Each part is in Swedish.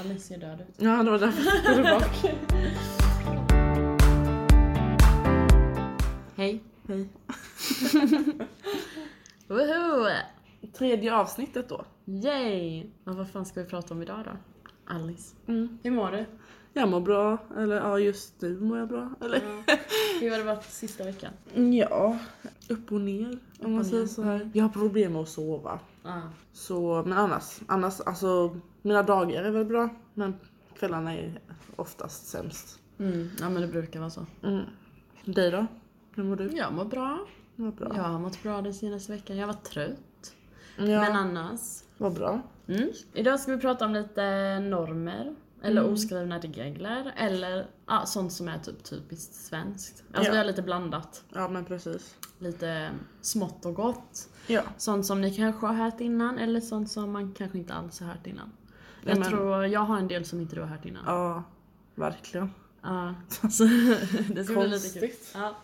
Alice ser död ut. Ja, det var därför du bak. Hej. Hej. Woho! Tredje avsnittet då. Yay! Men vad fan ska vi prata om idag då? Alice. Hur mår du? Jag mår bra, eller ja just nu mår jag bra. Eller? Hur har det varit sista veckan? Mm, Ja, upp och ner om man och säger ner. så här. Jag har problem med att sova. Ja. Så, men annars, annars, alltså mina dagar är väl bra men kvällarna är oftast sämst. Mm, ja men det brukar vara så. Mm. Dig då? Hur mår du? Jag mår bra. Vad bra. Jag har mått bra den senaste veckan. Jag var trött. Ja, Men annars. Vad bra. Mm. Idag ska vi prata om lite normer. Eller oskrivna regler. Eller ja, sånt som är typ typiskt svenskt. Alltså Ja. vi har lite blandat. Ja men precis. Lite smått och gott. Ja. Sånt som ni kanske har hört innan eller sånt som man kanske inte alls har hört innan. Jag Ja, men- tror jag har en del som inte du har hört innan. Ja. Ja, verkligen. så det ska bli lite kul. Konstigt. Ja.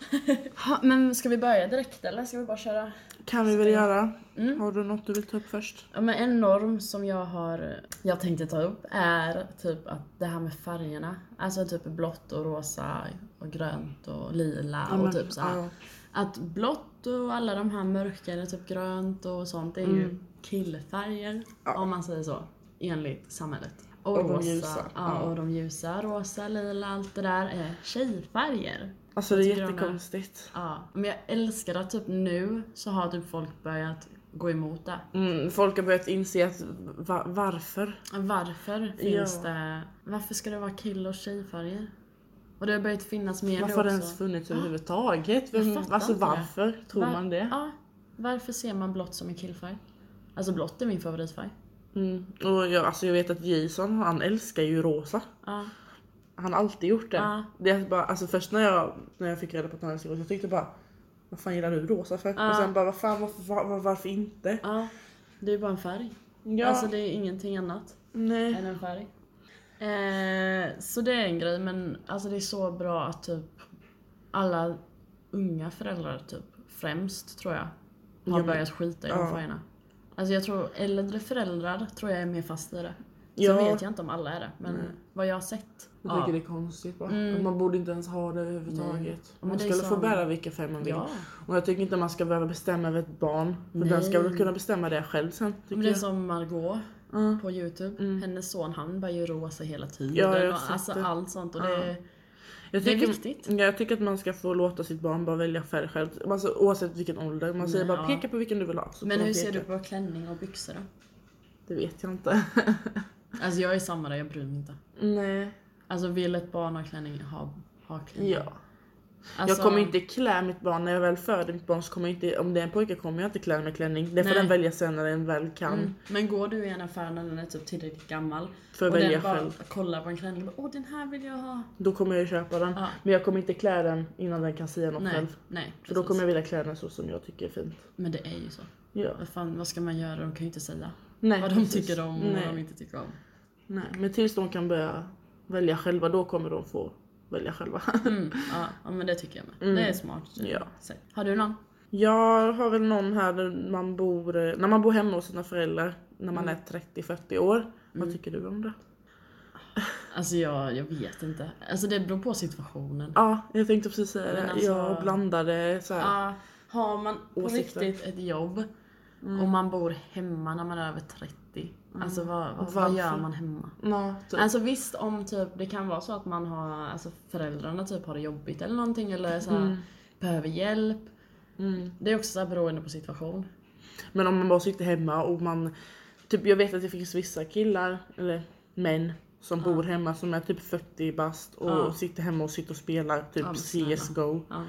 Ha, men ska vi börja direkt eller ska vi bara köra? Kan vi väl göra. Mm. Har du något du vill ta upp först? Ja, men en norm som jag har jag tänkte ta upp är typ att det här med färgerna. Alltså typ blått och rosa och grönt och lila men, och typ så här. ja. Att blått och alla de här mörkare, typ grönt och sånt, är ju killfärger Mm. Ja. om man säger så. Enligt samhället. Och, Och de rosa, ljusa, Ja, ja. och de ljusa, rosa, lila, allt det där är tjejfärger. Alltså det Jag tycker är de är- jättekonstigt. Ja. Men jag älskar att typ nu så har typ folk börjat gå emot det. Mm, folk har börjat inse att va, varför? Varför finns Ja. det... Varför ska det vara kill och tjejfärger? Och det har börjat finnas mer Varför nu har det också. ens funnits överhuvudtaget? Vem, Jag fattar alltså inte det. varför tror Var- man det? Ja. Varför ser man blått som en killfärg? Alltså blått är min favoritfärg. Mm. Och jag, alltså jag vet att Jason han älskar ju rosa. Ja. Han har alltid gjort det. Ja. det är bara, alltså först när jag, när jag fick reda på att han älskar rosa jag tyckte bara vad fan gillar du rosa för? Ja. Och sen bara vad fan varför, var, var, varför inte? Ja, det är bara en färg. Ja, Alltså det är ingenting annat nej. än en färg. Eh, så det är en grej men alltså det är så bra att typ alla unga föräldrar typ främst tror jag har Ja, men- börjat skita i de ja. färgerna. Alltså jag tror äldre föräldrar tror jag är mer fast i det. Ja. Sen vet jag inte om alla är det men vad jag har sett. Jag tycker det är konstigt bara. Mm. Man borde inte ens ha det överhuvudtaget. Men Man det är skulle få som- bära vilka färger man vill. Ja. Och jag tycker inte man ska behöva bestämma över ett barn. För Nej. den ska väl kunna bestämma det själv sen. Tycker Men det är jag. som Margot Ja. på youtube. Hennes son han var ju rosa hela tiden. Mm. Ja, jag har och, sett alltså det. allt sånt och Ja. det Jag Det är tycker, viktigt. Ja, jag tycker att man ska få låta sitt barn bara välja färg själv. Alltså, oavsett vilken ålder. Man säger Nej, bara ja. peka på vilken du vill ha. så får Men man hur ser peka. du på klänning och byxor då? Det vet jag inte. Alltså jag är samma där, jag bryr mig inte. Nej. Alltså vill ett barn ha klänning, ha, ha klänning. Ja. Alltså, jag kommer inte klä mitt barn när jag väl föder mitt barn. Så kommer jag inte, om det är en pojke kommer jag inte klä med klänning. Det får Nej. den välja sen när den väl kan. Mm. Men går du i en affär när den är typ tillräckligt gammal För att och välja den bara själv. kollar på en klänning och bara åh den här vill jag ha. Då kommer jag ju köpa den. Ja. Men jag kommer inte klä den innan den kan säga något Nej, själv. nej. För då precis. kommer jag vilja klä den så som jag tycker är fint. Men det är ju så. Ja. Vad, fan, vad ska man göra? De kan ju inte säga Nej, vad de precis. tycker om och Nej. vad de inte tycker om. Nej, men tills de kan börja välja själva, då kommer de få välja själva. Mm, ja, ja men det tycker jag med. Mm. Det är smart. Ja. sätt. Har du någon? Jag har väl någon här där man bor, eh, när man bor hemma hos sina föräldrar när man Mm. är 30-40 år. Vad tycker du om det? Alltså jag, jag vet inte. Alltså det beror på situationen. Ja, jag tänkte precis säga Men det. alltså- Jag blandade så här. Ja, har man på Åsikter. Mm. riktigt ett jobb och man bor hemma när man är över 30, alltså vad, vad, vad Varför? gör man hemma? Ja, typ. Alltså visst om typ, det kan vara så att man har, alltså föräldrarna typ har det jobbigt eller någonting eller så här, behöver hjälp. Mm. Det är också så här beroende på situation. Men om man bara sitter hemma och man... Typ jag vet att det finns vissa killar, eller män, som bor hemma som är typ 40 bast och Ja. sitter hemma och sitter och spelar typ Ja, men snälla. CSGO. Ja.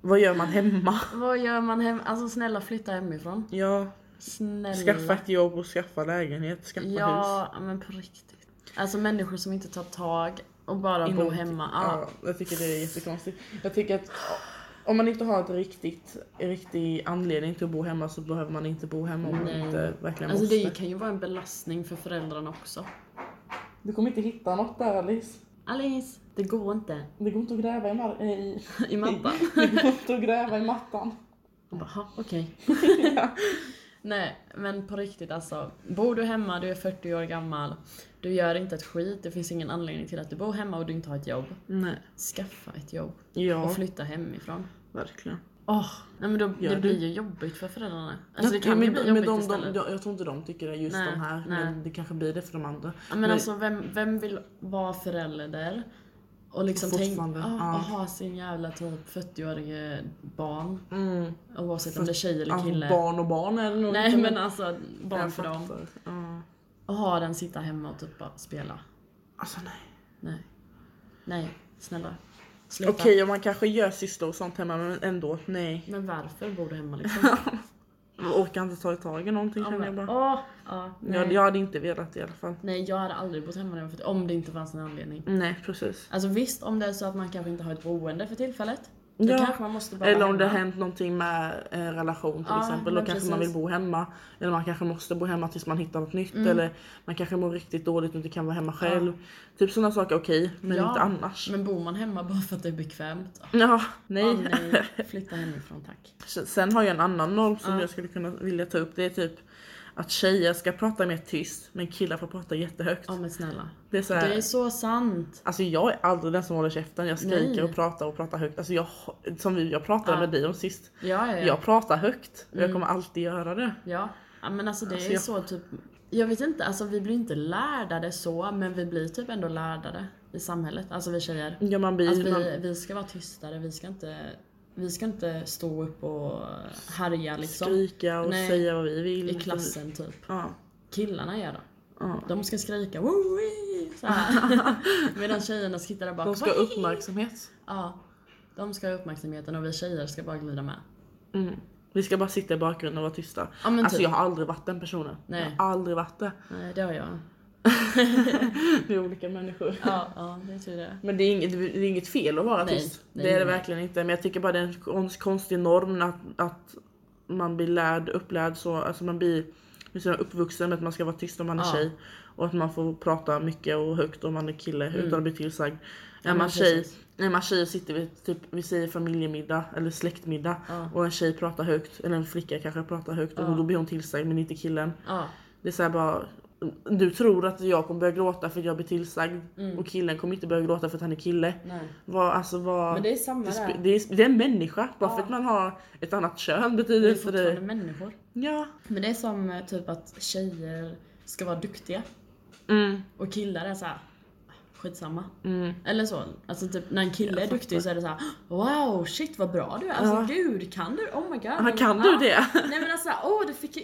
Vad gör man hemma? Vad gör man hemma? Alltså snälla flytta hemifrån. Ja, Snälla. skaffa ett jobb och skaffa lägenhet, skaffa hus. Mm. Ja, men på riktigt. Alltså människor som inte tar tag och bara bor Inom- typ- hemma. Ja. Ja, jag tycker det är jättekonstigt. Jag tycker att om man inte har ett riktigt, en riktig anledning till att bo hemma så behöver man inte bo hemma om man Nej. inte verkligen Alltså måste. det kan ju vara en belastning för föräldrarna också. Du kommer inte hitta något där Alice. Alice, det går inte. Det går inte att gräva i, mar- eh, i... I mattan. Det går inte att gräva i mattan. Hon bara, "Ha, okej. Nej, men på riktigt alltså. Bor du hemma, du är 40 år gammal, du gör inte ett skit, det finns ingen anledning till att du bor hemma och du inte har ett jobb. Nej. Skaffa ett jobb Ja, och flytta hemifrån. verkligen. Åh, nej men då, Gör det du? blir ju jobbigt för föräldrarna. Alltså det Ja, kan ju bli men jobbigt de, de, istället. jag, jag tror inte de tycker det, just Nej, de här. nej. Men det kanske blir det för de andra. Ja, men Nej. alltså vem, vem vill vara förälder och liksom tänka Fortfarande, ja, ja. och ha sin jävla typ 40-årige barn Mm. oavsett om det är tjej eller Alltså, kille. barn och barn är det nog Nej inte, men alltså barn jag för dem. fattar. Ja. Och ha den sitta hemma och typ bara spela. Alltså nej. Nej. Nej, snälla. Sluta. Okej, och man kanske gör sysslor och sånt hemma men ändå nej. Men varför bor du hemma liksom? Jag orkar inte ta tag i någonting Ja, känner jag men, bara. åh, ja, Jag, nej. jag hade inte velat i alla fall. nej, jag hade aldrig bott hemma när jag var 40, om det inte fanns en anledning. Nej precis. Alltså visst, om det är så att man kanske inte har ett boende för tillfället. Då Ja. kanske man måste bara Eller vara om det hemma. hänt någonting med en relation till Ja, exempel. Då men kanske man vill precis. Mm. bo hemma. Eller man kanske måste bo hemma tills man hittar något nytt. Eller man kanske mår riktigt dåligt och inte kan vara hemma själv. Typ sådana saker okej, men Ja, inte annars. Men bor man hemma bara för att det är bekvämt? Ja, Nej. nej. nej. Flytta hemifrån tack. Sen har jag en annan norm som jag skulle kunna vilja ta upp. Det är typ att tjejer ska prata mer tyst men killar får prata jättehögt. Ja men snälla. Det är så här, Det är så sant. Alltså jag är aldrig den som håller käften. Jag skriker Nej. och pratar och pratar högt. Alltså jag, som vi, jag pratade Ja. med dig om sist. Ja, Mm. ja, ja. Jag pratar högt och jag kommer alltid göra det. ja. ja men alltså det Alltså, är jag- så typ. Jag vet inte, alltså vi blir inte lärdade så men vi blir typ ändå lärdade i samhället. Alltså vi tjejer. Ja, man blir, Att Alltså, vi, man, vi ska vara tystare, vi ska inte, vi ska inte stå upp och härja liksom. skrika och Nej. säga vad vi vill. I klassen typ. Ja. Killarna gör det. Ja. De ska skrika "Woo-wee", så här. Medan tjejerna sitter där bak. De ska ha uppmärksamhet. Ja. De ska ha uppmärksamheten och vi tjejer ska bara glida med. Mm. Vi ska bara sitta i bakgrunden och vara tysta. Ja, men Alltså typ. jag har aldrig varit den personen. Nej. Jag har aldrig varit det. Nej, det har jag. Vi är olika människor. Ja, ja det är tur det. Men det är, inget, det är inget fel att vara Nej, tyst. nej, det är det nej. verkligen inte. Men jag tycker bara det är en konst- konstig norm att, att man blir lärd, upplärd så. Alltså man blir liksom uppvuxen med att man ska vara tyst om man är Ja. tjej. Och att man får prata mycket och högt om man är kille utan att bli tillsagd. Mm. Ja, är, man men tjej, precis. är man tjej sitter vi typ, vi säger familjemiddag eller släktmiddag Ja. och en tjej pratar högt, eller en flicka kanske pratar högt Ja. och då blir hon tillsagd men inte killen. Ja, Det är så här bara, du tror att jag kommer börja gråta för att jag blir tillsagd och killen kommer inte börja gråta för att han är kille. Mm. nej. Vad, alltså vad... Men det är samma det, sp- där. det är, det är en människa, bara för att man har ett annat kön betyder Vi är inte fortfarande det... människor. Ja. Men det är som eh, typ att tjejer ska vara duktiga Mm, och killar är så här. skitsamma. mm. Eller så. Alltså typ när en kille är duktig så är det så här: wow shit vad bra du är. Alltså Ja. gud kan du? Oh my god. Ah, kan du det? Nej men alltså åh du fick ju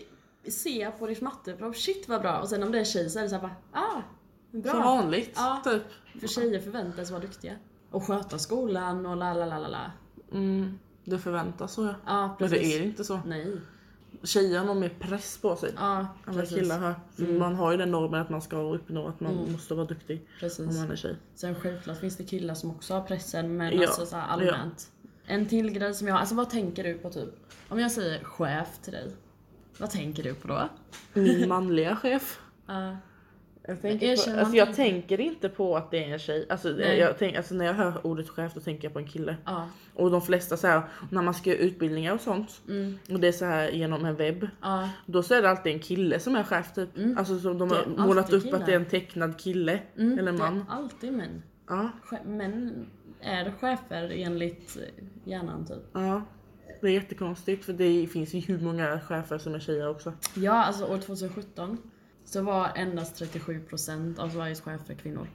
se på ditt matteprov, shit vad bra. Och sen om det är tjej så är det såhär bara, ah, Som bra. vanligt, Ja. typ. För tjejer förväntas vara duktiga. Och sköta skolan och la la la la la. Mm, det förväntas så ja. Ja Men precis. det är inte så. Nej. Tjejer har nog mer press på sig Ja än vad precis. Mm. killar har. För Man har ju den normen att man ska uppnå att man måste vara duktig om precis. man är tjej. Sen självklart finns det killar som också har pressen men Ja, alltså såhär allmänt. En till grej som jag, alltså vad tänker du på typ? Om jag säger chef till dig, vad tänker du på då? Min manliga chef. Ja. Jag Men tänker, erkänn på, man alltså jag tänker- tänker inte på att det är en tjej. Alltså, Nej. jag tänk, alltså när jag hör ordet chef då tänker jag på en kille. Ja. Och de flesta så här, när man ska göra utbildningar och sånt. Mm. Och det är så här genom en webb. Ja. Då så är det alltid en kille som är chef typ. Alltså som de Mm. Det är har målat alltid upp att det är en tecknad kille. Mm, eller Det man. är alltid män. Ja, Che- Män är chefer enligt eh, hjärnan typ. ja. Det är jättekonstigt för det finns ju hur många chefer som är tjejer också. Ja, alltså år 2017 så var endast 37% av Sveriges chefer kvinnor.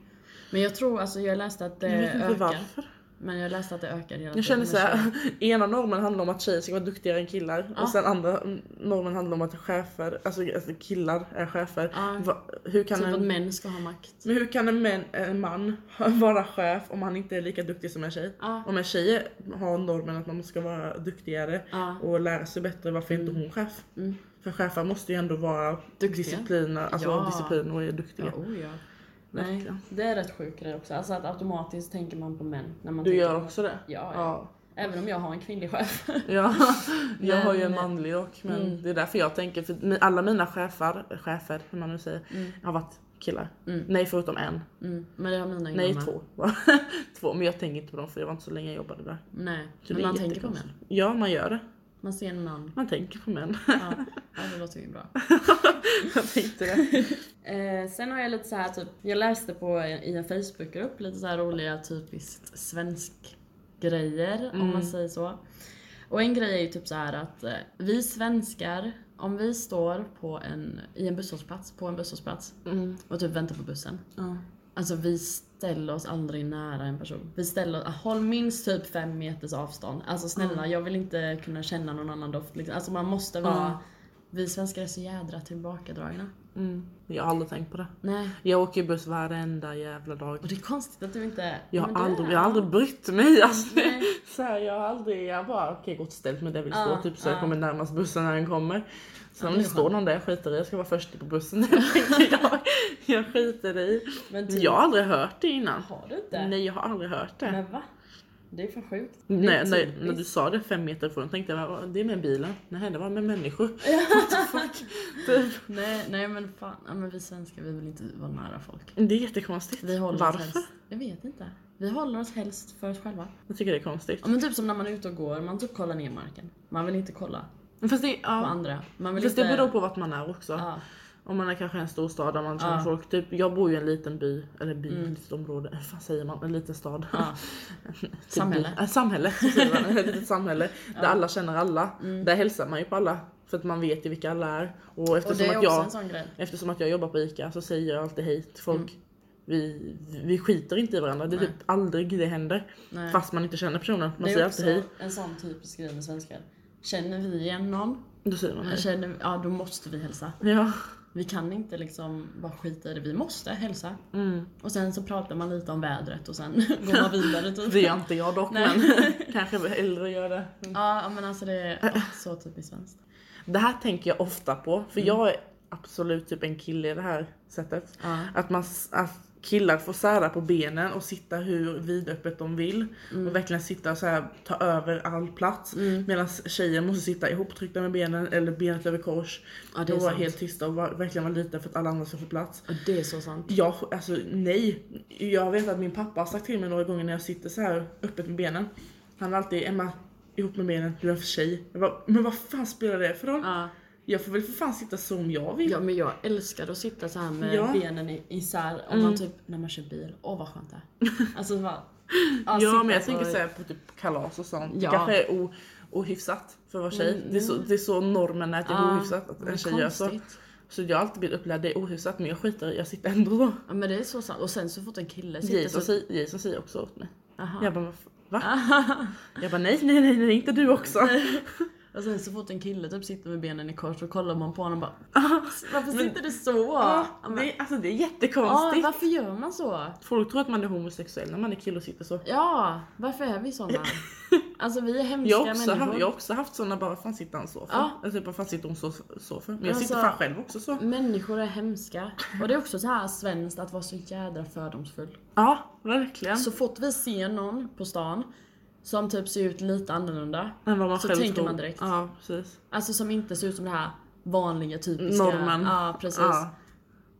Men jag tror, alltså jag läste att det Jag vet inte ökar. varför. Men jag läste att det ökar hela Typ Jag känner med så här, tjejer. ena normen handlar om att tjejer ska vara duktigare än killar Ja. och sen andra normen handlar om att chefer, alltså, alltså killar är chefer. Ja. Va, hur kan Typ att en, män ska ha makt. men hur kan en, män, en man vara chef om han inte är lika duktig som en tjej? Ja. Om en tjej har normen att man ska vara duktigare Ja. och lära sig bättre, varför är inte hon chef? Mm. För chefer måste ju ändå vara Duktiga. disciplin, alltså Ja. disciplin och är duktiga. Ja, oh ja. Nej, Verkligen. det är rätt sjuk grej också. Alltså att automatiskt tänker man på män när man Du tänker gör på- också det? Ja, ja. ja. Även om jag har en kvinnlig chef. Ja, jag har ju en Men- eh, manlig rock men Mm. det är därför jag tänker för mi- alla mina chefer, chefer hur man nu säger, Mm. har varit killar. Mm. Nej förutom en. Mm. Men det har mina egna Nej med. två. två. Men jag tänker inte på dem för jag var inte så länge jag jobbade där. Nej, Så det men är man tänker på män. jättekonstigt. Ja man gör det. Man ser en man. Man tänker på män. Ja, ja det låter ju bra. jag tänkte det. Eh, sen har jag lite så här typ, jag läste på en- i en Facebookgrupp lite så här roliga typiskt svensk grejer om Mm. man säger så. Och en grej är ju typ så här att eh, vi svenskar, om vi står på en, i en busshållplats, på en busshållplats Mm. och typ väntar på bussen. Ja. Alltså vi ställer oss aldrig nära en person. Vi ställer oss, håll minst typ fem meters avstånd. Alltså snälla, jag vill inte kunna känna någon annan doft. Liksom. Alltså man måste vara... Mm. Vi svenskar är så jädra tillbakadragna. Mm. Jag har aldrig tänkt på det. Nej. Jag åker buss varenda jävla dag. Och det är konstigt att du inte... Jag har, Men det- aldrig, jag har aldrig brytt mig. Alltså, Nej. så här, jag har aldrig, jag bara okej gått och ställt mig där jag vill stå Ja, typ så jag ja. kommer närmast bussen när den kommer. Sen Ja, om det är det står skönt. någon där jag skiter i, jag ska vara först på bussen. tänker jag, jag skiter i. Men typ, Jag har aldrig hört det innan. Har du inte? Nej jag har aldrig hört det. Men va? Det är fan sjukt. Det är typ- Nej, nej, typiskt. när du sa det fem meter från tänkte jag "Vad- det är med bilen. Nej det var med människor. Typ. nej, nej men fan. Ja, men vi svenskar vi vill inte vara nära folk. Det är jättekonstigt. Vi håller Varför? oss helst... Jag vet inte. Vi håller oss helst för oss själva. Jag tycker det är konstigt. Ja, men typ som när man är ute och går, man typ kollar ner marken. Man vill inte kolla Fast det, på ja, andra. Man vill fast det inte... beror på vart man är också. Ja, Om man är kanske i en stor stad där man känner Ja. folk. Typ, jag bor ju i en liten by, eller by, Mm. ett litet område, vad fan säger man? En liten stad. ja. Typ Samhälle. by. Äh, samhälle, så säger man. Ett litet samhälle där alla känner alla. Mm. Där hälsar man ju på alla för att man vet ju vilka alla är. Och Och det eftersom, är att också jag, en sån grej. eftersom att jag jobbar på ICA så säger jag alltid hej till folk. Vi, vi skiter inte i varandra, det är Mm. Nej. typ aldrig det händer. Nej. Fast man inte känner personen. Man det säger är alltid också hej. en sån typisk grej med svenskar. Känner vi igen någon, Då säger man hej. känner, vi- ja då måste vi hälsa. Ja. Vi kan inte liksom bara skita i det, vi måste hälsa. Mm. Och sen så pratar man lite om vädret och sen går man vidare typ. Det gör inte jag dock Nej. men kanske äldre gör det. Ja men alltså det är ja, så typiskt svenskt. Det här tänker jag ofta på, för Mm. jag är absolut typ en kille i det här sättet. Ja. Att, man, s- att killar får sära på benen och sitta hur vidöppet de vill. Mm. Och verkligen sitta och så här, ta över all plats. Medan tjejer måste sitta ihoptryckta med benen eller benet över kors. Ja, det är och vara sant. helt tysta och vara, verkligen vara liten för att alla andra ska få plats. Och det är så sant. Jag, alltså nej. Jag vet att min pappa har sagt till mig några gånger när jag sitter så här öppet med benen. Han har alltid Emma ihop med benen, du är för tjej. Jag bara, men vad fan spelar det för roll? Ja. Jag får väl för fan sitta som jag vill. ja men jag älskar att sitta så här med Ja. Mm. benen i- isär om man typ, när man kör bil. Åh vad skönt det är. Alltså bara, Ja, sitta men jag tänker så- såhär på typ kalas och sånt. Ja. Det kanske är o, ohyfsat för att vara tjej. Det, är så, det är så normen är att det är Ja, ohyfsat att men en tjej gör så. konstigt. Så jag har alltid blivit upplärd, det är ohyfsat men jag skiter i, jag sitter ändå så. Ja men det är så sant. Och sen så fort en kille sitter Jason, så... Ah. säger- Jason säger också åt mig. Aha. Jag bara "Vad f- va? Jag bara nej nej nej, nej inte du också. Och sen så fort en kille typ sitter med benen i kors så kollar man på honom och bara Varför sitter du så? Ja, Ja, Ah, men- det, är- alltså det är Ja, jättekonstigt. varför gör man så? Folk tror att man är homosexuell när man är kille och sitter så. Ja, varför är vi såna? Alltså vi är hemska Jag har också, haft, människor. jag har också haft såna bara, vad fan sitter han så för? Ja. Alltså, vad fan sitter hon så, så för? Men jag Alltså- sitter fan själv också så. Människor är hemska. Och det är också så här svenskt att vara så jädra fördomsfull. Ja, verkligen. Så fort vi ser någon på stan som typ ser ut lite annorlunda. än vad man Så själv tänker tror. man direkt. Ja, precis. Alltså som inte ser ut som det här vanliga typiska. Normen. Ja, precis. Ja.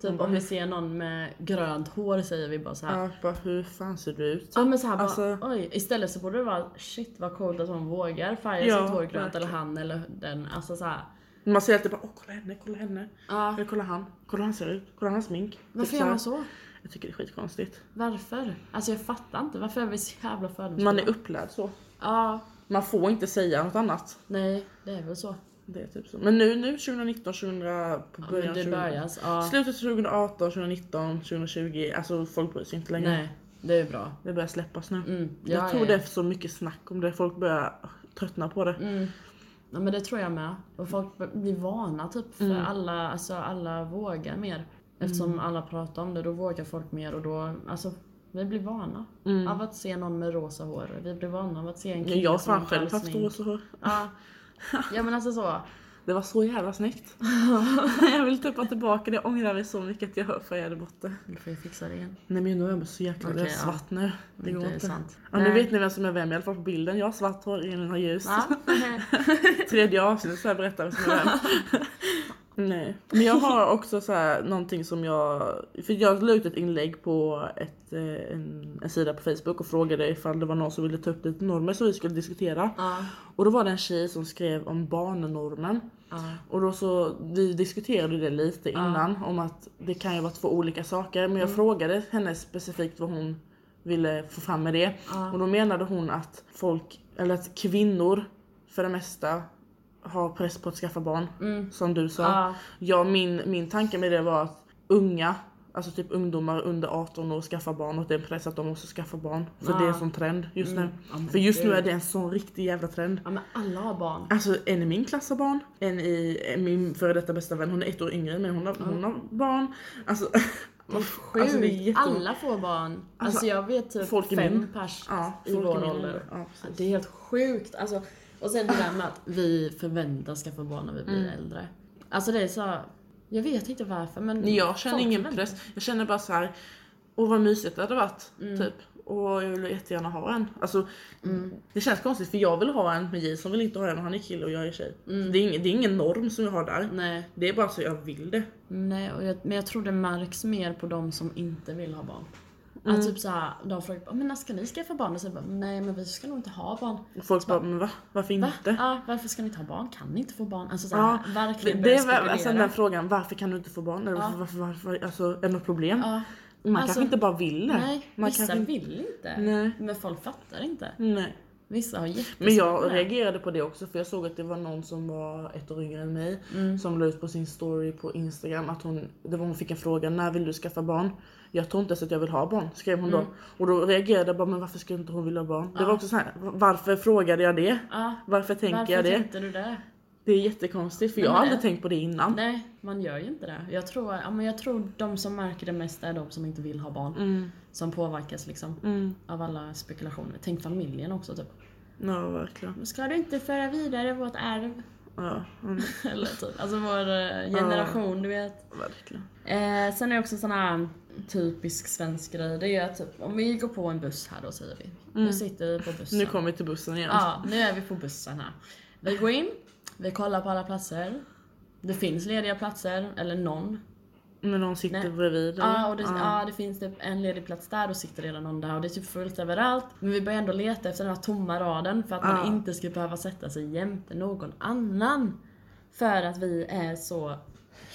Typ om vi ser någon med grönt hår säger vi bara så här. Ja, bara, hur fan ser du ut? Ja men såhär Alltså- bara, oj. Istället så borde det vara shit vad coolt att hon vågar färga Ja, sitt hår grönt eller verkligen. han eller den. Alltså såhär. Man ser alltid bara, åh kolla henne, kolla henne. Ja. Eller kolla han, kolla hur han ser ut, kolla hans smink. Typ Varför här. gör man så? Jag tycker det är skitkonstigt. Varför? Alltså jag fattar inte. Varför är vi så jävla fördomsfulla? Man är upplärd så. Ja, Man får inte säga något annat. nej det är väl så. Det är typ så. Men nu, nu 2019, 2000, på Ja, början, men det 2000 börjas. Ja. Slutet 2018, 2019, 2020, alltså folk bryr sig inte längre. Nej, det är bra. Det börjar släppas nu. Mm, ja, jag tror ja, det ja. är så mycket snack om det, folk börjar tröttna på det. Mm. Ja men det tror jag med. Och folk b- blir vana typ för Mm. alla, alltså alla vågar mer. Eftersom alla pratar om det, då vågar folk mer och då, alltså vi blir vana Mm. av att se någon med rosa hår. Vi blir vana av att se en kille Jag har som fan inte själv alls haft smink. rosa hår. Ja. ja men alltså så. Det var så jävla snyggt. jag vill typ ha tillbaka det, jag ångrar mig så mycket att jag färgade bort det. Nu får jag fixa det igen. Nej men nu är jag så jäkla Okej, ja. svart nu. Det går Det är inte. sant. Ja, nu Nej. vet ni vem som är vem i alla fall på bilden. Jag har svart hår, Elin har ljus. Ja. Tredje avsnittet så jag berättar vem som är vem. Nej. Men jag har också så här, någonting som jag... För jag la ut ett inlägg på ett, eh, en, en sida på Facebook och frågade ifall det var någon som ville ta upp lite normer som vi skulle diskutera. Ja. Och då var det en tjej som skrev om barnnormen. Ja. Och då så, vi diskuterade det lite innan om att det kan ju vara två olika saker. Men jag frågade henne specifikt vad hon ville få fram med det. Och då menade hon att folk, eller att kvinnor för det mesta har press på att skaffa barn. Som du sa. Ja. Ja, min, min tanke med det var att unga, alltså typ ungdomar under 18 år skaffar barn och det är en press att de måste skaffa barn. För det är en sån trend just nu. för just nu är det en sån riktig jävla trend. ja men alla har barn. Alltså en i min klass har barn, en i en min före detta bästa vän, hon är ett år yngre men hon har, hon har barn. Alltså, Sjukt. alltså det är jättemånga- alla får barn. Alltså, Alltså, jag vet typ folk i fem min- pers ja, i folk vår min ålder. ålder. Ja, Ja, precis. Det är helt sjukt. Alltså, och sen det där med att vi förväntas skaffa barn när vi blir Mm. äldre. Alltså det är så... Jag vet inte varför men... Jag känner folk ingen förväntas. press, jag känner bara så här. åh vad mysigt det hade varit. Mm. Typ. Och jag vill jättegärna ha en. Alltså, Det känns konstigt för jag vill ha en men Jason vill inte ha en och han är kille och jag är tjej. Det, är ingen, det är ingen norm som jag har där. Mm. Nej, Det är bara så jag vill det. nej och jag, men jag tror det märks mer på de som inte vill ha barn. Att Mm. typ såhär, de frågar bara, men när ska ni skaffa barn? Och så bara, nej men vi ska nog inte ha barn. Och folk bara, men va? Varför Va? inte? Ja, varför ska ni inte ha barn? Kan ni inte få barn? Alltså såhär, Ja, verkligen Det börja är väl- alltså den där spekulera. frågan, varför kan du inte få barn? Eller varför, varför, varför, alltså, är det något problem? Ja. Man Alltså, kanske inte bara vill det. Nej, Man vissa kanske inte- vill inte. Nej. Men folk fattar inte. Nej. Vissa har jättesvårt Men jag med det. reagerade på det också för jag såg att det var någon som var ett år yngre än mig Mm. som la ut på sin story på Instagram att hon, det var hon fick en fråga när vill du skaffa barn? Jag tror inte ens att jag vill ha barn skrev hon Mm. då. Och då reagerade jag bara men varför skulle inte hon vilja ha barn? Det var också så här, varför frågade jag det? Ja. Varför tänker Varför jag det? tänkte du det? Det är jättekonstigt för Nej, jag har men aldrig det- tänkt på det innan. Nej, man gör ju inte det. Jag tror, ja, men jag tror de som märker det mest är de som inte vill ha barn. Mm. Som påverkas liksom av alla spekulationer. Tänk familjen också typ. Ja verkligen. Ska du inte föra vidare vårt arv? Ja, mm, Eller typ, alltså vår eh, generation du vet. verkligen. Eh, sen är det också en sån här typisk svensk grej. Det är att typ, om vi går på en buss här då säger vi. Nu sitter vi på bussen. Mm. Nu kommer vi till bussen igen. Ja, nu är vi på bussen här. Vi går in, vi kollar på alla platser. Det finns lediga platser, eller någon. Men någon sitter Nej. bredvid. eller? Ja, och det, ja, det finns typ en ledig plats där och sitter redan någon där och det är typ fullt överallt. Men vi börjar ändå leta efter den här tomma raden för att man Ja. inte ska behöva sätta sig jämte någon annan. För att vi är så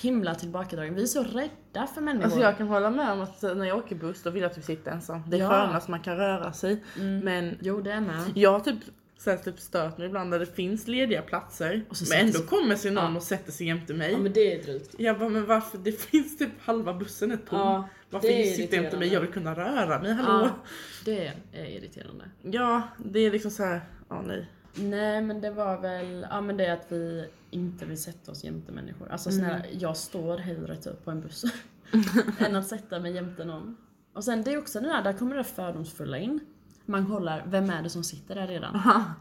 himla tillbakadragna. Vi är så rädda för människor. Alltså jag kan hålla med om att när jag åker buss då vill jag att vi sitter ensam. Det är Ja. Mm. skönast man kan röra sig. Men Jo, det är med. jag har typ, så här, typ stört mig ibland när det finns lediga platser Och så men sätter ändå sig- kommer sig någon Ja. och sätter sig jämte mig. Ja, men det är drygt. Jag bara men varför, det finns typ halva bussen är tom. Ja, varför det är sitter jämte mig? irriterande. Jag vill kunna röra mig, hallå? Ja, det är irriterande. Ja, det är liksom så här, ja nej. Nej men det var väl, ja men det är att vi inte vill sätta oss jämte människor. Alltså snälla, jag står hellre typ på en buss än att sätta mig jämte någon. Och sen det är också det där, där kommer det fördomsfulla in. Man kollar, vem är det som sitter där redan?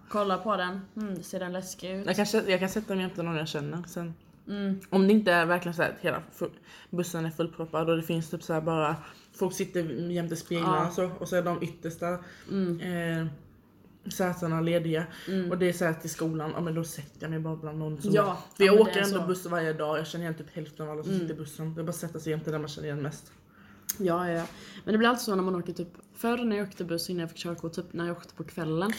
Kollar på den, mm, ser den läskig ut? Jag kan, sä- jag kan sätta mig jämte någon jag känner sen. Mm. Om det inte är verkligen så här att hela full, bussen är fullproppad och det finns typ så här bara folk sitter jämte speglarna så, och så är de yttersta Mm. eh, sätena lediga. Och det är så här till skolan, ja men då sätter jag mig bara bland någon som Ja, bara, ja, För jag men det åker är ändå så. Mm. buss varje dag, jag känner igen typ hälften av alla som sitter i bussen. Det är bara att sätta sig jämte där man känner igen mest. Ja, ja, ja. Men det blir alltid så när man åker typ, förr när jag åkte buss innan jag fick körkort, typ när jag åkte på kvällen.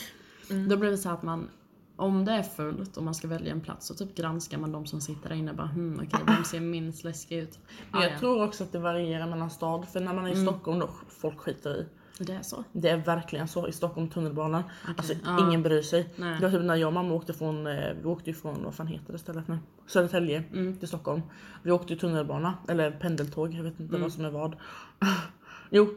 Då blev det så här att man, om det är fullt och man ska välja en plats så typ granskar man de som sitter där inne bara hmm, okej, vem ser minst läskig ut? Ja, Men jag ja. Mm. tror också att det varierar mellan stad, för när man är i Stockholm då folk skiter i. Det är så? Det är verkligen så i Stockholm tunnelbanan. Alltså ingen bryr sig. Nej. Det var typ när jag och mamma åkte från, eh, vi åkte ju från, vad fan heter det stället nu? Södertälje till Stockholm. Vi åkte ju tunnelbana, eller pendeltåg, jag vet inte vad som är vad. jo,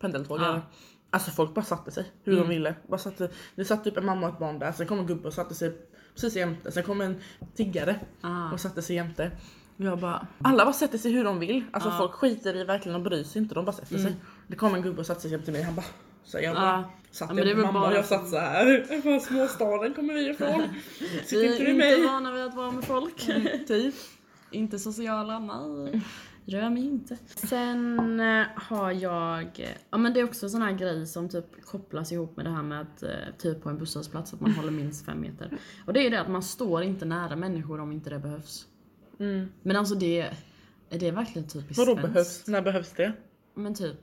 pendeltåg är det. Alltså folk bara satte sig hur de ville. Bara satte, det satt typ en mamma och ett barn där, sen kom en gubbe och satte sig precis jämte. Sen kom en tiggare Ah. och satte sig jämte. Och Jag bara, alla bara sätter sig hur de vill. Alltså folk skiter i verkligen och bryr sig inte. De bara sätter sig. Det kom en gubbe och satte sig jämte mig. Han bara, så jag bara, Mm. Ja. satt Ja, men jag det är med väl mamma bara och jag för- satt så här. Från småstaden kommer vi ifrån. Sitt Vi inte är med inte mig. vana vid att vara med folk. Typ. inte sociala, nej. Rör mig inte. Mm. Sen eh, har jag, ja men det är också en sån här grej som typ kopplas ihop med det här med att eh, typ på en busshållplats att man håller minst fem meter. Och det är ju det att man står inte nära människor om inte det behövs. Mm. Men alltså det, är det verkligen typiskt Vadå svenskt? behövs? När behövs det? Men typ,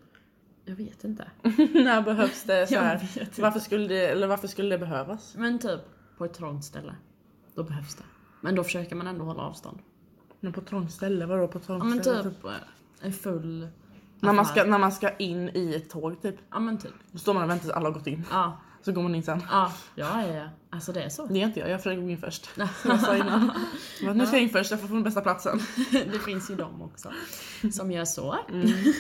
jag vet inte. när behövs det? Så Jag här, vet inte. varför, skulle det eller varför skulle det behövas? Men typ på ett trångt ställe, då behövs det. Men då försöker man ändå hålla avstånd. Men på trångt ställe, vadå på trångt Ja men ställe? typ eh, en full När man, affär. ska, när man ska in i ett tåg typ. Ja men typ. Då står man och väntar tills alla har gått in. Ja, Så går man in sen. ja, ja, ja, ja. Alltså det är så. Det är inte jag, jag försöker gå in först. Som jag sa innan. Jag bara, nu ska jag in först, jag får få den bästa platsen. det finns ju de också som gör så.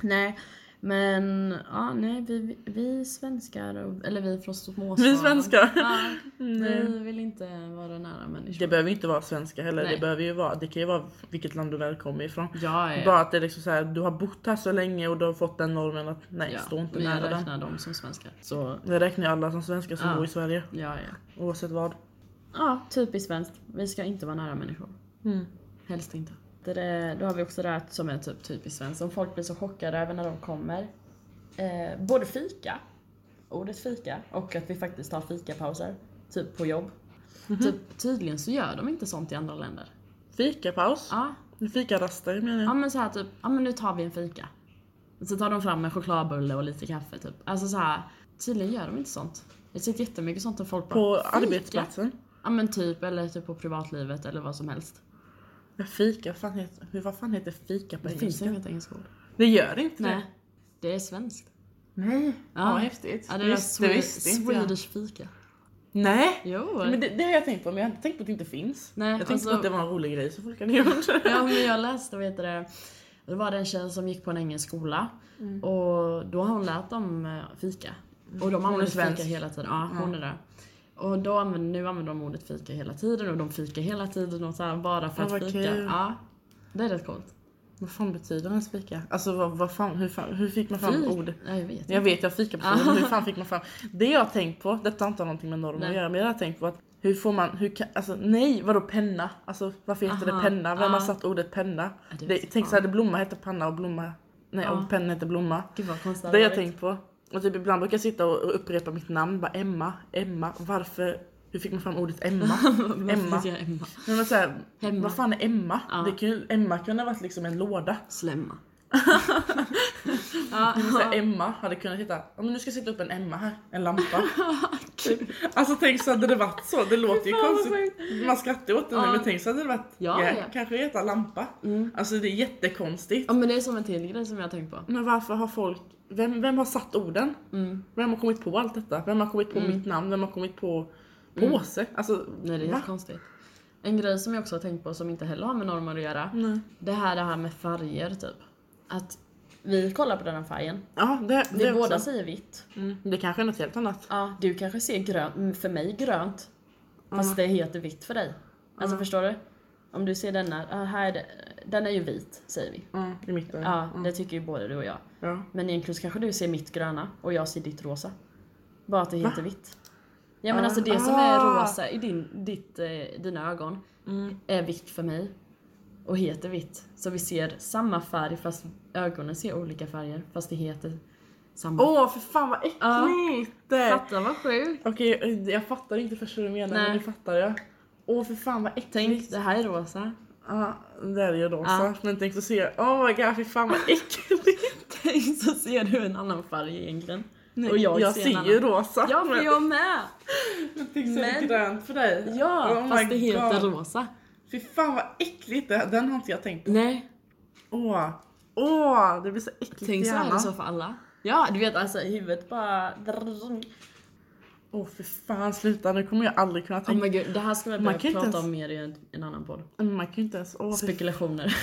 nej, men ja, nej, vi, vi svenskar, och- eller vi från småstaden. Vi svenskar. Ja, Nej. vi vill inte vara nära Det människor. behöver ju inte vara svenska heller, Nej. det, behöver ju vara, det kan ju vara vilket land du väl kommer ifrån. Ja, ja. Bara att det är liksom så här, du har bott här så länge och du har fått den normen att nej, ja. stå inte men nära jag den. räknar dem som svenskar. Så, Det räknar ju alla som svenskar som Ja. bor i Sverige, ja, ja. oavsett vad. Ja, typiskt svenskt. Vi ska inte vara nära människor. Mm. Helst inte. Det är, då har vi också det här som är typ typiskt svenskt, om folk blir så chockade även när de kommer. Eh, både fika, ordet fika, och att vi faktiskt har fikapauser. Typ på jobb. Typ, tydligen så gör de inte sånt i andra länder. Fikapaus, Ja, fikaraster menar ja jag. men så här typ, ja men nu tar vi en fika. Så tar de fram en chokladbulle och lite kaffe typ. Alltså så här, tydligen gör de inte sånt. Jag har sett jättemycket sånt om folk bara På "Fika?" arbetsplatsen. Ja men typ, eller typ på privatlivet eller vad som helst. Men Fika, vad fan heter, hur- vad fan heter fika på Det finns engelska? inget engelskt ord. Det gör inte Nej, det. det är svenskt. Nej. Ja, Ja. häftigt. Ja, det är Visst, det Swe- visste inte jag. Swedish fika. Nej. Jo. Men det, det har jag tänkt på, men jag har inte tänkt på att det inte finns. Nej, jag tänkte alltså- på att det var en rolig grej så folk hade gjort. Ja, men jag läste, vad heter det, det var det en tjej som gick på en engelsk skola Mm. och då har hon lärt dem eh, fika. Och de använder fika svensk. hela tiden. Ja, hon är det. Och då använder, nu använder de ordet fika hela tiden och de fikar hela tiden och så här, bara för Ja, att fika. vad kul. Ja, det är rätt coolt. vad fan betyder ens fika? Alltså vad, vad fan, hur, fan, hur fick man fram Fika? ordet? Ja, jag vet. Jag vet, jag fika på Ah. men hur fan fick man fram? Det jag har tänkt på, detta har inte någonting med normer att Nej. göra, men jag har tänkt på att hur får man, hur kan, alltså nej, vadå penna? Alltså varför heter Aha, det penna? Vem har ah. satt ordet penna? Ja, det det, vet tänk fan. Ah. såhär, blomma heter panna och blomma, nej Ja. och penna heter blomma. Gud vad konstigt Det hade har jag varit. tänkt på. Och typ ibland brukar jag sitta och och upprepa mitt namn, bara Emma, Emma, varför? Hur fick man fram ordet Emma? Varför Emma. fick jag Emma. Men man säger, Hemma. vad fan är Emma? Ja. Det kan ju, Emma kunde ha varit liksom en låda. Slemma. ja, Så här, Emma hade kunnat hitta, ja men nu ska jag sätta upp en Emma här, en lampa. Gud. Alltså tänk så hade det varit så, det låter ju fan, vad konstigt. Man skrattar ju åt det nu Ja. men tänk så hade det varit, Ja, ja. Mm. kanske heta lampa. Alltså det är jättekonstigt. ja men det är som en till grej som jag har tänkt på. Men varför har folk, vem, vem har satt orden? Vem har kommit på allt detta? Vem har kommit på mitt namn? Vem har kommit på påse? Alltså Mm. Nej det är va? helt konstigt. En grej som jag också har tänkt på som inte heller har med normer att göra. Nej. Det här det här med färger typ. Att vi kollar på den här färgen. Ja det, Vi det, är båda också. säger vitt. Mm, det kanske är något helt annat. Ja, du kanske ser grönt, mm, för mig grönt. Fast det heter vitt för dig. Alltså förstår du? Om du ser denna, ah, här är det, den är ju vit säger vi. Mm, I mitten. Ja, det tycker ju både du och jag. Ja. Men egentligen så kanske du ser mitt gröna och jag ser ditt rosa. Bara att det heter vitt. Ja men Ah. alltså det som är Ah. rosa i din, ditt, eh, dina ögon är vitt för mig. Och heter vitt. Så vi ser samma färg fast ögonen ser olika färger fast det heter samma. Åh för fan vad Ja. äckligt! Fatta vad sjukt! Okej eh, jag fattar inte först hur du menar Nej. men nu fattar jag. Åh för fan vad äckligt! Tänk, det här är rosa. Ja, det är ju rosa. Ja. Men tänk så ser jag, oh my god fy fan vad äckligt! Tänk så ser du en annan färg egentligen. Nej, Och jag ser en ser ju annan. rosa. Ja för jag med! men tänk så är det men- grönt för dig. Ja! Oh my fast det heter God. rosa. Fy fan vad äckligt, det- den har inte jag tänkt på. Nej, Åh, åh, det blir så äckligt Tänk i så är det hjärnan. så för alla. Ja, du vet alltså huvudet bara... Åh för fan sluta, nu kommer jag aldrig kunna Oh tänka. my god, det här ska vi Man börja kan inte prata ens- om mer i en, en annan podd. Men man kan ju inte ens, åh, fy- Spekulationer.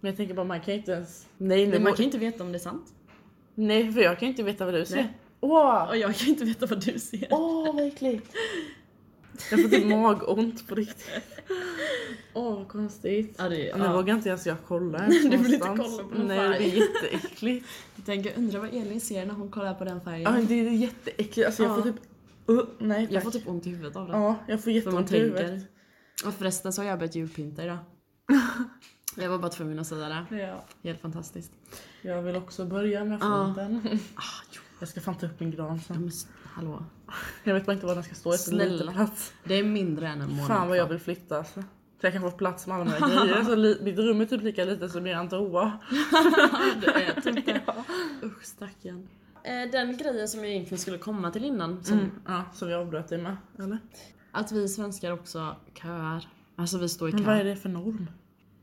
men jag tänker bara man kan ju inte ens. Nej, nej, Men man man kan ju inte veta om det är sant. nej för jag kan ju inte veta vad du ser. Nej. Åh, Och jag kan inte veta vad du ser. åh vad äckligt. Jag får typ magont på riktigt. Åh vad konstigt. Ja, det, Ja, Nu ja. vågar inte ens jag kolla. Du vill inte kolla på någon Nej, det färg. är jätteäckligt. Jag tänker, undrar vad Elin ser när hon kollar på den Ja, men färgen. det är jätteäckligt. Alltså jag Ja. får typ... Uh, nej tack. Jag får typ ont i huvudet av det. Ja, jag För får man jätteont i huvudet. tänker. Och förresten så har jag börjat julpynta idag. Jag var bara tvungen att säga det. Ja. Helt fantastiskt. Jag vill också börja med Ja. foten. Ah, jo. Jag ska fan ta upp min gran Ja, sen. men, s- hallå. Jag vet bara inte var den ska stå. Jag har så lite Snälla. plats. Det är mindre än en månad Fan vad jag kvar. vill flytta alltså. Så jag kan få plats med alla mina grejer. Så li- mitt rum är typ lika litet som eran toa. det är typ det. Ja. Usch stackarn. Eh, Den grejen som jag egentligen skulle komma till innan, som Mm, ja, som vi avbröt dig med. Eller? att vi svenskar också köar. Alltså vi står i Men vad är kö. det för norm?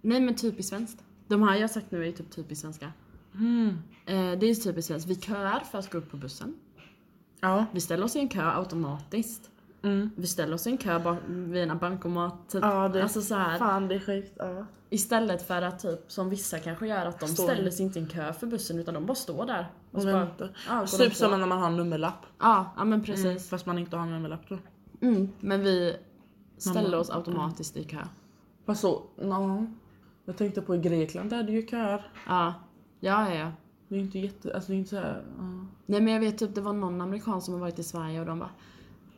Nej men typiskt svenskt. De här jag sagt nu är ju typ typiskt svenska. Mm. Eh, Det är ju typiskt svenskt. Vi köar för att gå upp på bussen. Ja. Vi ställer oss i en kö automatiskt. Mm. Vi ställer oss i en kö ba- vid en bankomat. Typ. Ja, det- Alltså så här. Fan det är sjukt. Ja. Istället för att typ som vissa kanske gör att de Står. ställer sig inte i en kö för bussen utan de bara står där. Och Och så bara, vänta. ja, går de Typ på. som när man har en nummerlapp. Ja, ja men precis. Mm, fast man inte har en nummerlapp då. Mm, men vi ställer Mamma. oss automatiskt i kö. Fast så, no. Jag tänkte på i Grekland där är det ju köer. Ja. ja, ja, ja. Det är inte jätte, alltså det är inte såhär. ja. Nej men jag vet typ det var någon amerikan som har varit i Sverige och de bara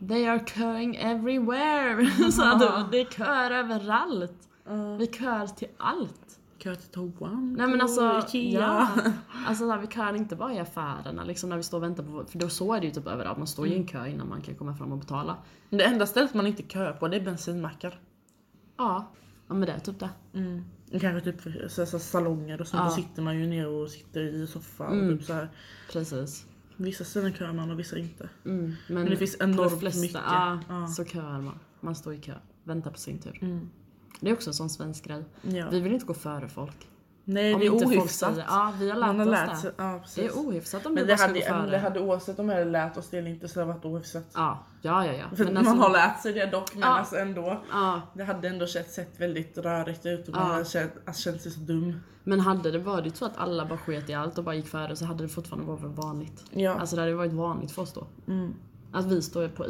They are köing everywhere! Så du, det är köer överallt. Vi köar till allt. Kö till toan. Mm. Nej men på alltså, Ikea. ja. Alltså så här, vi köar inte bara i affärerna liksom när vi står och väntar på, för då så är det ju typ överallt, man står i Mm. en kö innan man kan komma fram och betala. Det enda stället man inte kör på det är bensinmackar. Ja, ja men det är typ det. Kanske typ för- så, så, salonger och sånt. Ja. Då sitter man ju ner och sitter i soffan. Mm. Och typ så här. Precis. Vissa ställen kör man och vissa inte. Mm, men, det finns på enormt flesta, mycket. Ja, Ja. Så köar man. Man står i kö, väntar på sin tur. Mm. Det är också en sån svensk grej. Ja. Vi vill inte gå före folk. Nej det är inte folk ohyfsat. säger- Ja, vi har lärt Man har oss lärt det. sig. Ja, precis. Det är ohyfsat om vi Men det bara ska gå hade, men före. det hade oavsett om vi hade lärt oss det eller inte så hade det varit ohyfsat. Ja, ja, ja. ja. För Men alltså- man har lärt sig det dock men Ja. alltså ändå. ja. Det hade ändå känt, sett väldigt rörigt ut och man Ja. hade känt, alltså, känt sig så dum. Men hade det varit så att alla bara sket i allt och bara gick före så hade det fortfarande varit vanligt. Ja. Alltså det hade varit vanligt för oss då. Mm. Att vi står på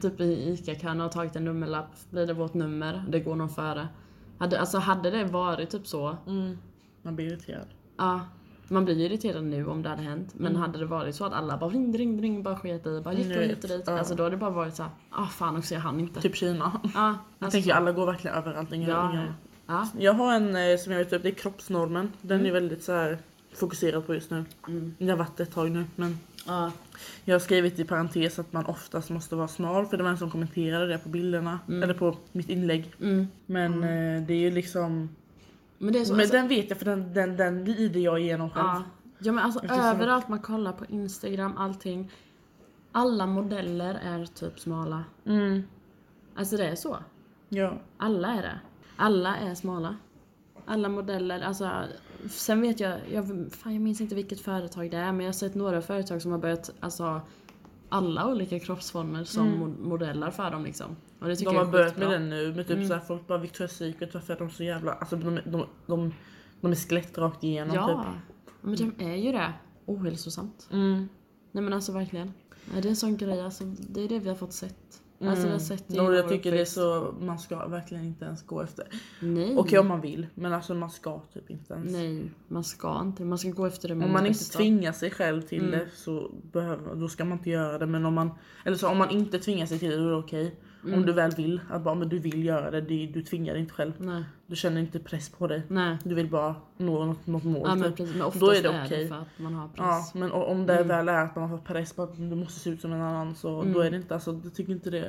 typ i ICA-kön och har tagit en nummerlapp, blir det vårt nummer, det går någon före. Hade, alltså hade det varit typ så, mm. Man blir irriterad. ja. Man blir ju irriterad nu om det hade hänt, Mm. men hade det varit så att alla bara ring, ring, ring, bara sket i, bara gick Jag och vet, hit och dit. ja. Alltså då hade det bara varit så här, ah fan också jag hann inte. Typ Kina. Ja, Jag alltså, tänker alla går verkligen överallt. Ingen, ja, ingen. ja, Jag har en eh, som jag vet upp, det är kroppsnormen. Den är väldigt så här fokuserad på just nu. Mm. Jag har varit ett tag nu men ja, jag har skrivit i parentes att man oftast måste vara smal för det var en som kommenterade det på bilderna eller på mitt inlägg. mm. Men eh, det är ju liksom Men det är så, Men alltså, den vet jag för den, den, den lider jag igenom själv. Ja. ja men alltså Eftersom- överallt man kollar på Instagram, allting. Alla modeller är typ smala. Mm. Alltså det är så. Ja. Alla är det. Alla är smala. Alla modeller, alltså. Sen vet jag, jag, fan jag minns inte vilket företag det är men jag har sett några företag som har börjat, alltså alla olika kroppsformer som mo- modeller för dem liksom. Och det tycker Mm. De jag har är börjat skitbra. Mm. med den nu med typ såhär folk bara Victoria's Secret varför är de så jävla, alltså de, de, de, de är skelett rakt igenom Ja, typ. men de är ju det. Ohälsosamt. Mm. Nej men alltså verkligen. Ja, Det är en sån grej, alltså, det är det vi har fått sett. Alltså vi har sett det Mm. Mm. Och i jag vår tycker det är uppväxt. så, man ska verkligen inte ens gå efter. Okej Nej, om man vill men alltså man ska typ inte ens. nej, man ska inte Man ska gå efter det Om man inte bästa. tvingar sig själv Mm. till det så behöver, då ska man inte göra det. Men om man, eller så, om man inte tvingar sig till det då är det okej. Mm. Om du väl vill, att bara, men du vill göra det, du, du tvingar dig inte själv. Nej, Du känner inte press på dig. nej. Du vill bara nå något, något mål. Ja, men typ. precis. Men oftast Då är det är det okej. Mm. för att man har Ja, press. men o- om det väl är att man har fått press på att du måste se ut som en annan så då är det inte, alltså jag tycker inte det. Det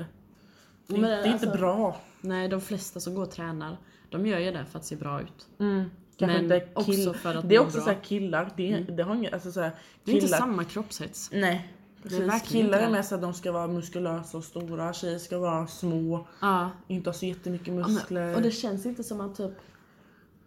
är, Mm. Men inte- det är alltså- inte bra. Nej, de flesta som går och tränar, de gör ju det för att se bra ut. Kanske Mm. Men inte kill- också för att det är må också bra. Mm. så här killar, det, är- det har inget, alltså så här, Det är inte killar- samma kroppshets. Nej. Det är Precis. verkligen Killar inte är det. mest att de ska vara muskulösa och stora, tjejer ska vara små, Ja. inte ha så jättemycket Ja, men- muskler. Och det känns inte som att typ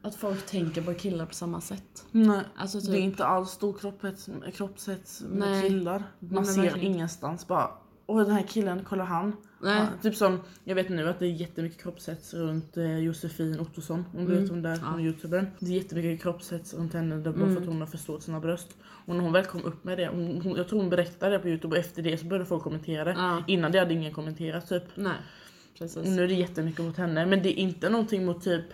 att folk tänker på killar på samma sätt. Nej. Alltså Det är typ, inte alls stor kroppshets, kroppshets med Nej. killar. Man men ser verkligen. ingenstans bara Åh den här killen, kolla han. Nej. Ja, typ som, jag vet nu att det är jättemycket kroppshets runt eh, Josefin Ottosson, om Mm. du vet om det är, hon youtubern. Det är jättemycket kroppshets runt henne där- bara Mm. för att hon har förstått sina bröst. Och när hon väl kom upp med det, hon, hon, jag tror hon berättade det på youtube och efter det så började folk kommentera det. Ja. Innan det hade ingen kommenterat typ. nej. Precis. Och nu är det jättemycket mot henne men det är inte någonting mot typ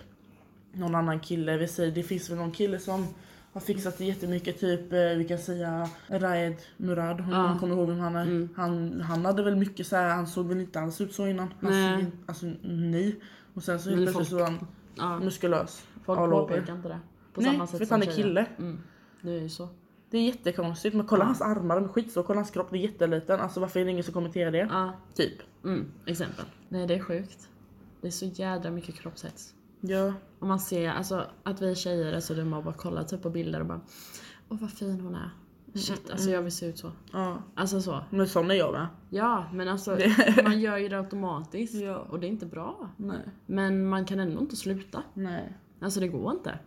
någon annan kille. Vi säger det finns väl någon kille som har fixat det jättemycket typ eh, vi kan säga Raed Murad om Ja. Mm. man kommer ihåg vem han är. Han, han hade väl mycket så här, han såg väl inte alls ut så innan. Han Nej. såg in- alltså nej. Och sen så Men helt plötsligt folk- så var han Ja. muskulös. Folk all over. påpekar inte det. På Nej, samma sätt för att som han är tjejer. kille. Mm. Det är ju så. Det är jättekonstigt men kolla hans armar, de är skitstora, kolla hans kropp, det är jätteliten. Alltså varför är det ingen som kommenterar det? Ja, Typ. mm, exempel. Nej det är sjukt. Det är så jädra mycket kroppshets. Ja. Och man ser alltså, att vi tjejer är så dumma och bara kollar typ på bilder och bara Åh vad fin hon är. Shit, alltså jag vill se ut så. ja. Alltså så. Men sån är jag med. Ja, men alltså man gör ju det automatiskt. Ja. Och det är inte bra. Nej. Men man kan ändå inte sluta. Nej. Alltså det går inte.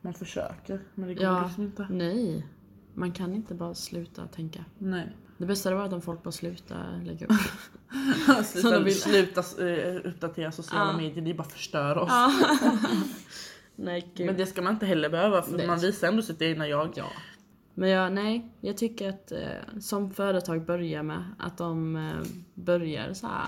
Man försöker men det går Ja, liksom inte. nej. Man kan inte bara sluta tänka. Nej. Det bästa hade varit om folk bara slutar lägga upp. Sluta, de vill- sluta eh, uppdatera sociala Ja. medier, det bara förstör oss. nej, Men det ska man inte heller behöva för Nej. man visar ändå sitt egna jag. Ja. Men jag, nej, jag tycker att eh, som företag börjar med att de eh, börjar så här.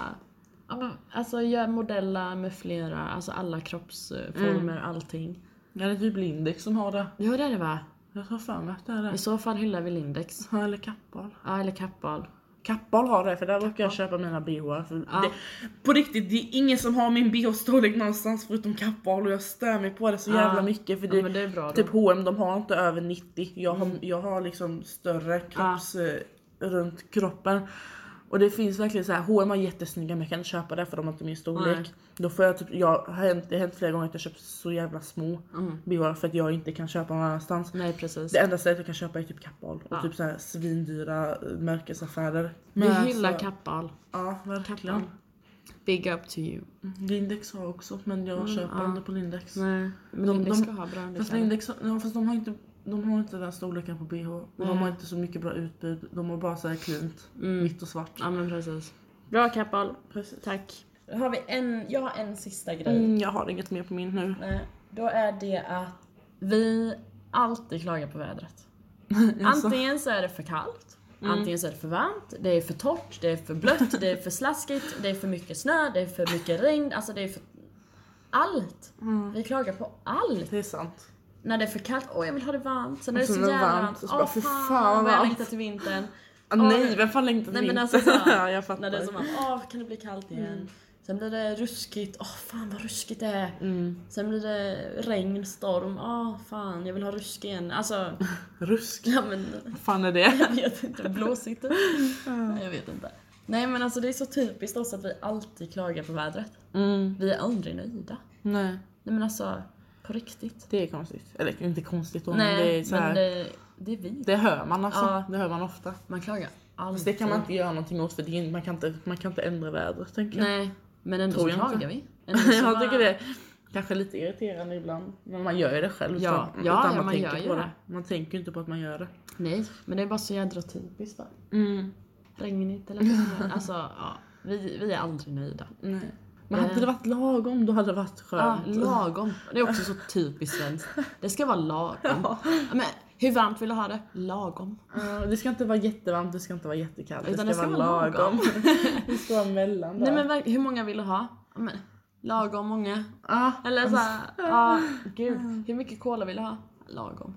ja, men, Alltså gör modeller med flera, alltså alla kroppsformer, allting. Ja, det är typ Lindex som har det. Ja det är det va? Jag har för mig att det är I det. så fall hyllar vi Lindex. Ja, Eller Kappahl. Ja eller Kappahl. Kappahl har det för där brukar jag köpa mina bhar. För Ja. det, på riktigt, det är ingen som har min bh-storlek någonstans förutom Kappahl och jag stör mig på det så Ja. jävla mycket. För Ja Ah. det, men det är bra då. typ H&M de har inte över 90. Jag har, jag har liksom större kropps eh, runt kroppen. Och det finns verkligen så här, H&M har jättesnygga men jag kan inte köpa det för de har inte min storlek. Nej. Då får jag typ, jag, har hänt, det har hänt flera gånger att jag köpt så jävla små Mm. bhar för att jag inte kan köpa någon annanstans. Nej precis. Det enda stället jag kan köpa är typ Kappahl och Ja. typ så här svindyra eh, märkesaffärer. Vi hyllar alltså- Kappahl. Ja verkligen. Kappahl. Big up to you. Lindex har också men jag köper Mm, ja. aldrig på Lindex. Nej. Men De- Lindex de- ska ha bra Fast underkläder. Lindex, ja, fast de har inte de har inte den storleken på bh och de har inte så mycket bra utbud. De har bara såhär klint, vitt och svart. Mm. Ja men precis. Bra Kappahl. Precis. Tack. Har vi en, jag har en sista grej. Mm, jag har inget mer på min nu. Eh, Då är det att vi alltid klagar på vädret. Alltså. Antingen så är det för kallt, Mm. antingen så är det för varmt, det är för torrt, det är för blött, det är för slaskigt, det är för mycket snö, det är för mycket regn, alltså det är för... Allt! Mm. Vi klagar på allt! Det är sant. När det är för kallt, åh jag vill ha det varmt, sen när det är Och så sen är Alltså, det jävla varmt, varmt, och så åh bara, för fan, fan, vad vad jag varmt. längtar till vintern. Ja, Ah, nej nu- vem fan längtar Nej till men vinter? alltså såhär, ja, jag fattar. Mm. när det är som att åh kan det bli kallt igen. Sen blir det ruskigt, åh fan vad ruskigt det är. Mm. Sen blir det regn, storm, åh fan jag vill ha rusk igen. Alltså, Rusk. ja men Vad fan är det? jag vet inte, blåsigt. Nej, jag vet inte. Nej men alltså det är så typiskt oss att vi alltid klagar på vädret. Mm, Vi är aldrig nöjda. nej. Nej men alltså, på riktigt. Det är konstigt. Eller inte konstigt då, men det är Nej så här, men det... det, det är vi. hör man alltså. Ja. Det hör man ofta. Man klagar Fast alltid. det kan man inte göra någonting åt för det är, in- man, kan inte, man kan inte ändra vädret tänker jag. Nej, men ändå så Tror jag inte. klagar vi. Ändå så jag bara- tycker det är kanske lite irriterande ibland. Men man gör ju det själv Ja, utan, ja, utan ja, man, man tänker gör ju på det. det. Man tänker ju inte på att man gör det. Nej, men det är bara så jädra typiskt va? Mm, Regnigt eller vad Alltså, ja. Vi, vi är aldrig nöjda. nej. Men hade det varit lagom då hade det varit Eh. Ja, skönt. lagom. Det är också så typiskt svenskt. Det ska vara lagom. Ja, Men, hur varmt vill du ha det? Lagom. Ja, Eh, det ska inte vara jättevarmt, det ska inte vara jättekallt. Utan det ska vara det ska vara mellan där. Nej men verk- hur många vill du ha? Ja, Men, lagom många. ah, Eller såhär, ja gud. Hur mycket cola vill du ha? Lagom.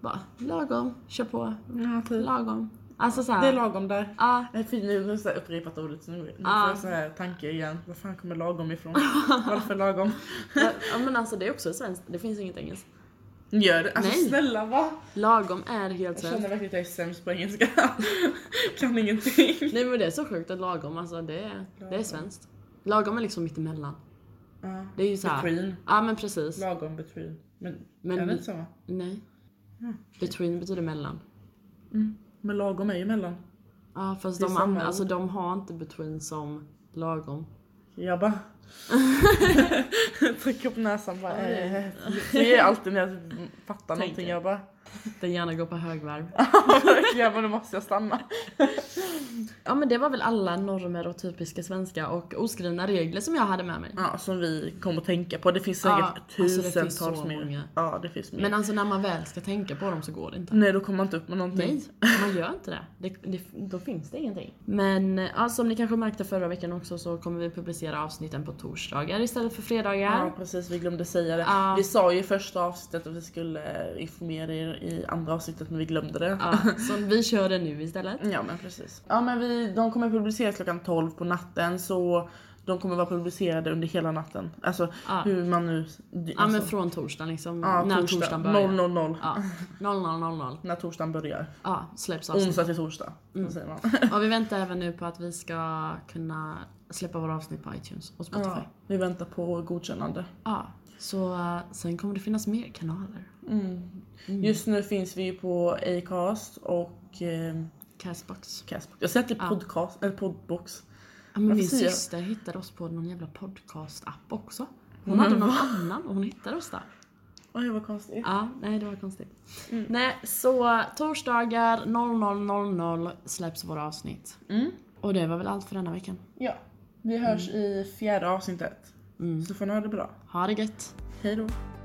Bara, lagom. Kör på. ja, typ. Lagom. Alltså såhär. Det är lagom där. Ja, Nej, fy, nu har jag så här upprepat ordet så nu, nu får Ah. jag så här tanke igen. Var fan kommer lagom ifrån? Varför lagom? ja, men alltså det är också svenskt. Det finns inget engelskt. Gör det? Alltså Nej. snälla va? Lagom är helt Jag svenskt. känner verkligen att jag är sämst på engelska. kan ingenting. Nej men det är så sjukt att lagom, alltså det är, det är svenskt. Lagom är liksom mittemellan. Ja. Det är ju såhär. Between. Ja men precis. Lagom between. Men, Men- är det inte samma? Nej. Mm. Between betyder mellan. Men lagom är ju mellan. Ja fast Det är de, samma anv- ord. alltså, de har inte between som lagom. Jag bara... Trycker på näsan bara. det är- eh, Så gör jag alltid när jag fattar någonting. Tänker. Jag bara... Den gärna går på högvarv. Verkligen, men nu måste jag stanna. Ja men det var väl alla normer och typiska svenska och oskrivna regler som jag hade med mig. Ja, som vi kommer att tänka på. Det finns säkert Ja, alltså det finns tusentals så mer. många. Ja, det finns mer. Men alltså när man väl ska tänka på dem så går det inte. Nej, då kommer man inte upp med någonting. Nej, man gör inte det. det, det då finns det ingenting. Men eh, ja, som ni kanske märkte förra veckan också så kommer vi publicera avsnitten på torsdagar istället för fredagar. Ja precis, vi glömde säga det. Ja. Vi sa ju i första avsnittet att vi skulle eh, informera er i andra avsnittet men vi glömde det. Ja, så vi kör det nu istället. Ja men precis. Ja men vi, de kommer publiceras klockan 12 på natten så de kommer vara publicerade under hela natten. Alltså Ja. hur man nu... Ja men alltså, från torsdagen liksom. ja, när torsdag. torsdagen börjar. 000. Ja, 00.00. När torsdagen börjar. Ja, släpps avsnitt. Mm. Onsdag till torsdag. Så säger man. Och vi väntar även nu på att vi ska kunna släppa våra avsnitt på iTunes och Spotify. Ja, Ja. vi väntar på godkännande. Så eh, sen kommer det finnas mer kanaler. Mm. Just nu finns vi ju på Acast och eh, Castbox. Castbox. Jag sätter Ja. podcast, eller podbox. Ja, men Varför min säger jag- syster hittade oss på någon jävla podcast-app också. Hon hade någon annan och hon hittade oss där. Oj vad konstigt. Ja, nej det var konstigt. Nej, så torsdagar 00.00 släpps våra avsnitt. Mm. Och det var väl allt för denna veckan. Ja. Vi hörs i fjärde avsnittet. Mm. Så får ni ha det bra. Ha det gött! Hej då.